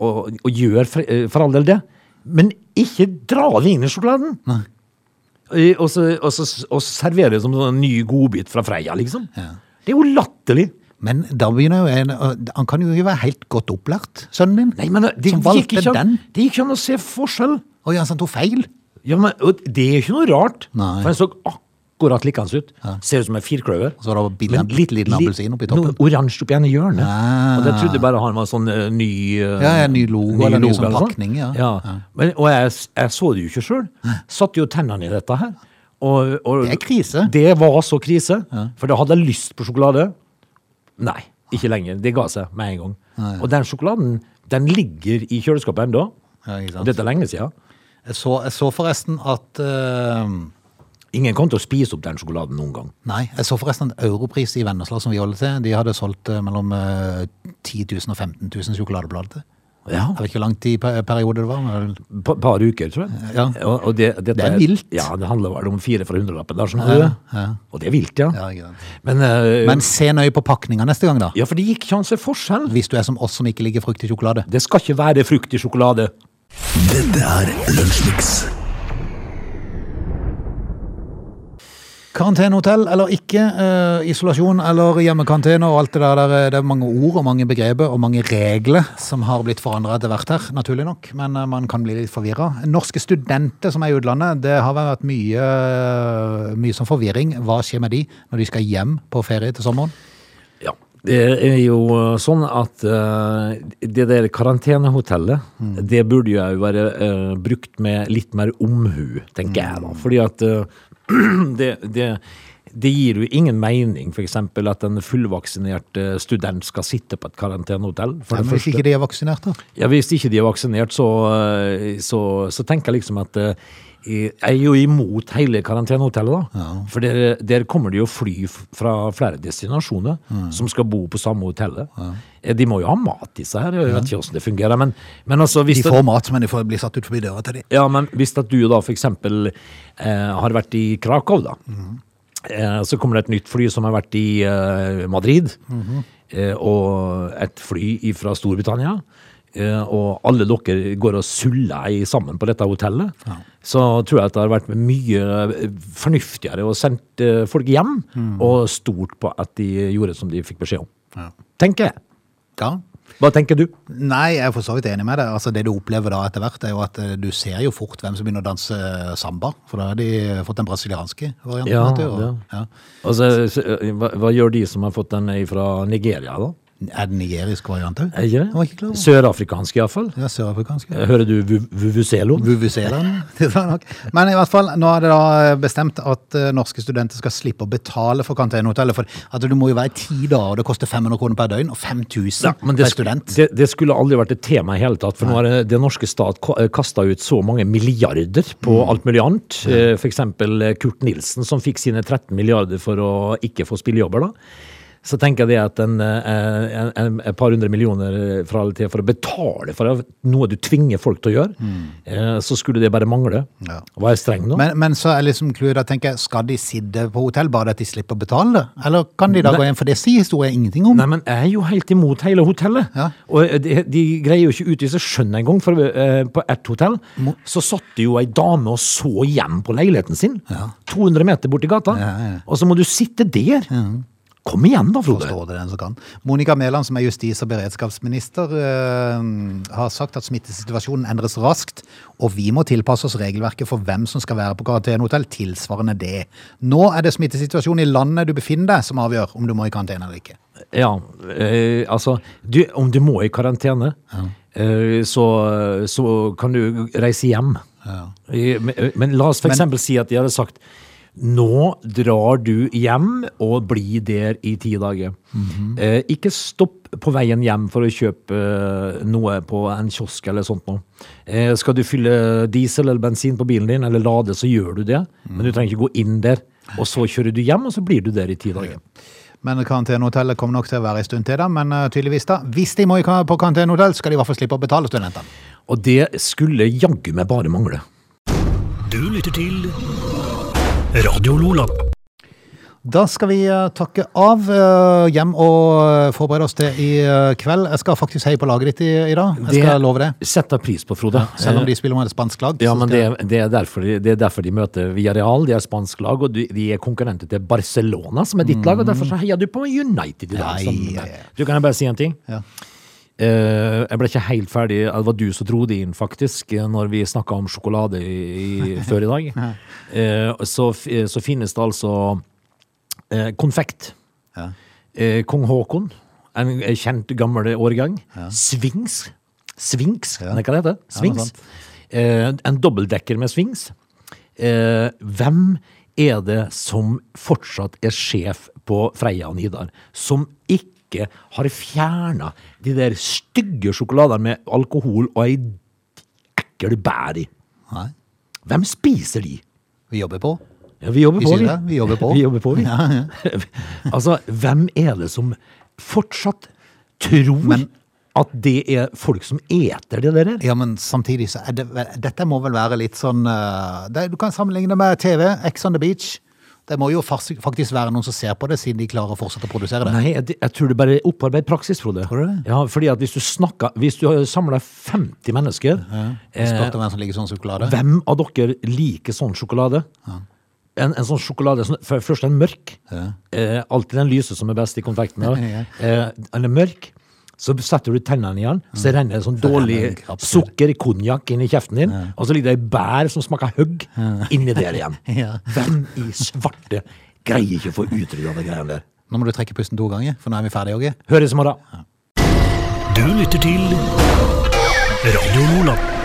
[SPEAKER 3] og, og gjør for, eh, for all del det. Men ikke dra det inn i sjokoladen! Eh, Og så, og så, og så servere det som en ny godbit fra Freia, liksom. Det er jo latterlig!
[SPEAKER 1] Men da begynner jo en, og han kan jo ikke være helt godt opplært, sønnen min.
[SPEAKER 3] Nei, men det
[SPEAKER 1] som
[SPEAKER 3] gikk
[SPEAKER 1] valgte
[SPEAKER 3] ikke an,
[SPEAKER 1] den.
[SPEAKER 3] det gikk ikke an å se forskjell.
[SPEAKER 1] Å ja, så han tok feil.
[SPEAKER 3] Ja, men og Det er ikke noe rart.
[SPEAKER 1] Nei.
[SPEAKER 3] For den så akkurat likens ut. Ser ut som en firkløver.
[SPEAKER 1] Og så var det billig-
[SPEAKER 3] Men
[SPEAKER 1] bitte liten
[SPEAKER 3] li-
[SPEAKER 1] appelsin oppi toppen.
[SPEAKER 3] Noe oransje oppi ene hjørnet.
[SPEAKER 1] Ah.
[SPEAKER 3] Og Jeg trodde bare han var sånn eh, ny eh,
[SPEAKER 1] Ja, ja, ny logo eller ny sånn
[SPEAKER 3] sånn.
[SPEAKER 1] pakning, ja.
[SPEAKER 3] Men, og jeg, s- jeg så det jo ikke sjøl. Satte jo tennene i dette her. Og, og,
[SPEAKER 1] Det er krise.
[SPEAKER 3] Det var så krise. For da hadde jeg lyst på sjokolade. Nei, ikke lenger. Det ga seg med en gang. Og den sjokoladen den ligger i kjøleskapet ennå.
[SPEAKER 1] Ja, ikke sant.
[SPEAKER 3] og dette er lenge siden.
[SPEAKER 1] Jeg så, jeg så forresten at eh,
[SPEAKER 3] Ingen kom til å spise opp den sjokoladen noen gang.
[SPEAKER 1] Nei, jeg så forresten at Europris i Vennesla som vi holder til, de hadde solgt eh, mellom eh, 10 000 og 15 000 sjokoladeblader til.
[SPEAKER 3] Ja,
[SPEAKER 1] Jeg vet ikke hvor lang tid per- periode det var. men vel-
[SPEAKER 3] Et par, par uker, tror jeg.
[SPEAKER 1] Ja.
[SPEAKER 3] Og, og det, dette
[SPEAKER 1] Det er vilt.
[SPEAKER 3] Ja, det handler vel om fire fra hundrelappen. Der, sånn, ja, Og det er vilt, ja.
[SPEAKER 1] Ja, ikke sant.
[SPEAKER 3] Men, eh,
[SPEAKER 1] Men se nøye på pakninga neste gang, da.
[SPEAKER 3] ja, for det gikk ikke an å se forskjell.
[SPEAKER 1] Hvis du er som oss som ikke liker frukt i sjokolade.
[SPEAKER 3] Det skal ikke være frukt i sjokolade.
[SPEAKER 2] Dette er Lunsjmix.
[SPEAKER 1] Karantenehotell eller ikke, eh, isolasjon eller hjemmekarantene og alt det der, der. eh, Det er mange ord og mange begreper og mange regler som har blitt forandra etter hvert her, naturlig nok. Men eh, man kan bli litt forvirra. Norske studenter som er i utlandet, det har vært mye, eh, mye sånn forvirring. Hva skjer med de når de skal hjem på ferie til sommeren?
[SPEAKER 3] Ja. Det er jo eh, sånn at eh, det der karantenehotellet, det burde jo også være eh, brukt med litt mer omhu, tenker jeg da. Fordi at eh, <clears throat> det, det, det gir jo ingen mening, for eksempel, at en fullvaksinert eh, student skal sitte på et karantenehotell. For
[SPEAKER 1] Ja,
[SPEAKER 3] det
[SPEAKER 1] men hvis
[SPEAKER 3] første.
[SPEAKER 1] ikke de er vaksinert, da?
[SPEAKER 3] Ja, hvis ikke de er vaksinert, så, eh, så, så tenker jeg liksom at eh, jeg er jo imot hele karantenehotellet, da. For der, der kommer det jo fly f- fra flere destinasjoner som skal bo på samme hotellet. Eh, De må jo ha mat, disse her. Jeg vet ikke hvordan det fungerer. Men, men altså,
[SPEAKER 1] De
[SPEAKER 3] hvis det-
[SPEAKER 1] får mat, men de får bli satt ut forbi døra til de.
[SPEAKER 3] ja, men hvis at du da for eksempel eh, har vært i Krakow da, eh, så kommer det et nytt fly som har vært i eh, Madrid, eh, og et fly fra Storbritannia, eh, og alle dere går og suller i sammen på dette hotellet, så tror jeg at det har vært mye eh, fornuftigere å sendt eh, folk hjem, og stort på at de gjorde som de fikk beskjed om.
[SPEAKER 1] Ja.
[SPEAKER 3] Tenker jeg.
[SPEAKER 1] Ja.
[SPEAKER 3] Hva tenker du?
[SPEAKER 1] Nei, jeg er for så vidt enig med deg. Altså, det du opplever da etter hvert, er jo at eh, du ser jo fort hvem som begynner å danse eh, samba. For da har de fått den brasilianske varianten.
[SPEAKER 3] Ja,
[SPEAKER 1] vet du, og,
[SPEAKER 3] det.
[SPEAKER 1] ja.
[SPEAKER 3] Altså, så, eh, hva, hva gjør de som har fått den fra Nigeria da?
[SPEAKER 1] Er det nigerisk variant òg?
[SPEAKER 3] Er ikke det? Eh.
[SPEAKER 1] Jeg var ikke klar over.
[SPEAKER 3] Sørafrikansk iallfall.
[SPEAKER 1] Ja, Sørafrikansk. ja.
[SPEAKER 3] Hører du vu- Vuvuzelo?
[SPEAKER 1] Vuvuzelaen. <laughs> Det var nok. Men i hvert fall, nå er det da bestemt at eh, norske studenter skal slippe å betale for karantenehotellet. For at du må jo være i ti dager, og det koster 500 kroner per døgn, og 5000
[SPEAKER 3] men
[SPEAKER 1] per
[SPEAKER 3] det, sk-
[SPEAKER 1] student.
[SPEAKER 3] det, det skulle aldri vært et tema i hele tatt. For nå har eh, den norske stat ko- eh, kasta ut så mange milliarder på
[SPEAKER 1] Mm.
[SPEAKER 3] alt mulig annet. Eh, For eksempel eh, Kurt Nilsen, som fikk sine 13 milliarder for å ikke få spillejobber, da. så tenker jeg det at en, eh, en, en, et par hundre millioner eh, fra eller til for å betale for noe du tvinger folk til å gjøre, eh, så skulle det bare mangle.
[SPEAKER 1] Mm. Ja.
[SPEAKER 3] Var jeg streng nå?
[SPEAKER 1] Men, men så er liksom clouet da tenker jeg, skal de sitte på hotell bare at de slipper å betale det? Eller kan de da
[SPEAKER 3] Nei.
[SPEAKER 1] gå hjem, for det sier historien ingenting om.
[SPEAKER 3] Nei, men jeg er jo helt imot hele hotellet.
[SPEAKER 1] Ja.
[SPEAKER 3] Og eh, de, de greier jo ikke å utvise skjønn engang, for eh, på ett hotell så satt det jo ei dame og så hjem på leiligheten sin. 200 meter borti gata.
[SPEAKER 1] Ja, ja.
[SPEAKER 3] Og så må du sitte der! Kom igjen da, Frode.
[SPEAKER 1] Forstår det den som kan. Monica Mæland, som er justis- og beredskapsminister, eh, har sagt at smittesituasjonen endres raskt, og vi må tilpasse oss regelverket for hvem som skal være på karantenehotell, tilsvarende det. Nå er det smittesituasjonen i landet du befinner deg som avgjør om du må i karantene eller ikke.
[SPEAKER 3] Ja, eh, altså du, Om du må i karantene, eh, så, så kan du reise hjem. Eh, Men, men la oss for eksempel si at de hadde sagt nå drar du hjem og blir der i ti dager. eh, ikke stopp på veien hjem for å kjøpe eh, noe på en kiosk eller sånt noe. Eh, skal du fylle diesel eller bensin på bilen din, eller lade, så gjør du det. Men du trenger ikke gå inn der. Og så kjører du hjem, og så blir du der i ti dager.
[SPEAKER 1] Men karantenehotellet kommer nok til å være en stund til, da. Men eh, tydeligvis, da. Hvis de må i ka- på karantenehotell, skal de i hvert fall slippe å betale studentene.
[SPEAKER 3] Og det skulle jaggu meg bare mangle.
[SPEAKER 2] Du lytter til Radio Lola.
[SPEAKER 1] Da skal vi eh, takke av eh, hjem og eh, forberede oss til i eh, kveld. Jeg skal faktisk heie på laget ditt i, i dag. Jeg skal love det.
[SPEAKER 3] setter jeg pris på, Frode.
[SPEAKER 1] Selv om de spiller med et spansk lag.
[SPEAKER 3] Eh. ja,
[SPEAKER 1] så
[SPEAKER 3] men
[SPEAKER 1] skal-
[SPEAKER 3] det, det, er derfor, de- det er derfor de møter Villarreal, de er spansk lag, og de, de er konkurrenter til Barcelona, som er ditt lag, og derfor så heier du på United i
[SPEAKER 1] Mm.
[SPEAKER 3] dag.
[SPEAKER 1] Ja,
[SPEAKER 3] sammen
[SPEAKER 1] ja,
[SPEAKER 3] med meg.
[SPEAKER 1] ja.
[SPEAKER 3] Du, kan jeg bare si en ting?
[SPEAKER 1] Ja.
[SPEAKER 3] Eh, jeg ble ikke helt ferdig, det var du som dro det inn faktisk, eh, når vi snakket om sjokolade i, i, før i
[SPEAKER 1] <laughs>
[SPEAKER 3] dag. Eh, så, f- eh, så finnes det altså eh, konfekt.
[SPEAKER 1] Ja.
[SPEAKER 3] eh, Kong Haakon, en eh, kjent gammel årgang. Svings. Svinks,
[SPEAKER 1] Ja.
[SPEAKER 3] hva det heter det?
[SPEAKER 1] Ja, noe
[SPEAKER 3] Svings. eh, en dobbeltdekker med svings. Eh, hvem er det som fortsatt er sjef på Freia og Nidar, som ikke har fjerna de der stygge sjokoladene med alkohol og ei ekkel bær i?
[SPEAKER 1] Nei.
[SPEAKER 3] Hvem spiser de?
[SPEAKER 1] Vi jobber på.
[SPEAKER 3] Ja, vi jobber
[SPEAKER 1] Vi
[SPEAKER 3] på,
[SPEAKER 1] sier det, vi jobber på.
[SPEAKER 3] <laughs> Vi jobber på, vi. <laughs> altså, hvem er det som fortsatt tror at det er folk som eter det der?
[SPEAKER 1] Ja, men samtidig så er det Dette må vel være litt sånn eh, det, Du kan sammenligne det med TV, X on the Beach. Det må jo fars- faktisk være noen som ser på det, siden de klarer å fortsette å produsere det.
[SPEAKER 3] Nei, jeg, jeg tror det bare er opparbeidet praksis, Frode.
[SPEAKER 1] Tror du det?
[SPEAKER 3] Ja, fordi at hvis du snakker, hvis du samler 50 mennesker, eh,
[SPEAKER 1] Spurte om hvem som liker sånn sjokolade.
[SPEAKER 3] hvem av dere liker sånn sjokolade? En, en sånn sjokolade, sånn, for- først en mørk, eh, alltid den lyse som er best i konfekten, da.
[SPEAKER 1] <laughs> Ja.
[SPEAKER 3] eh, den er mørk, så setter du tennene i den, så renner det sånn
[SPEAKER 1] renner
[SPEAKER 3] dårlig
[SPEAKER 1] det krabber.
[SPEAKER 3] sukker, konjakk inn i kjeften din, og så ligger det ei bær som smaker høgg inni der igjen.
[SPEAKER 1] <laughs> Ja.
[SPEAKER 3] Hvem i svarte greier ikke å få utrydda de greiene der?
[SPEAKER 1] Nå må du trekke pusten to ganger, for nå er vi ferdige, Åge.
[SPEAKER 3] Høres i morgen.
[SPEAKER 2] Du lytter til Radio Lola.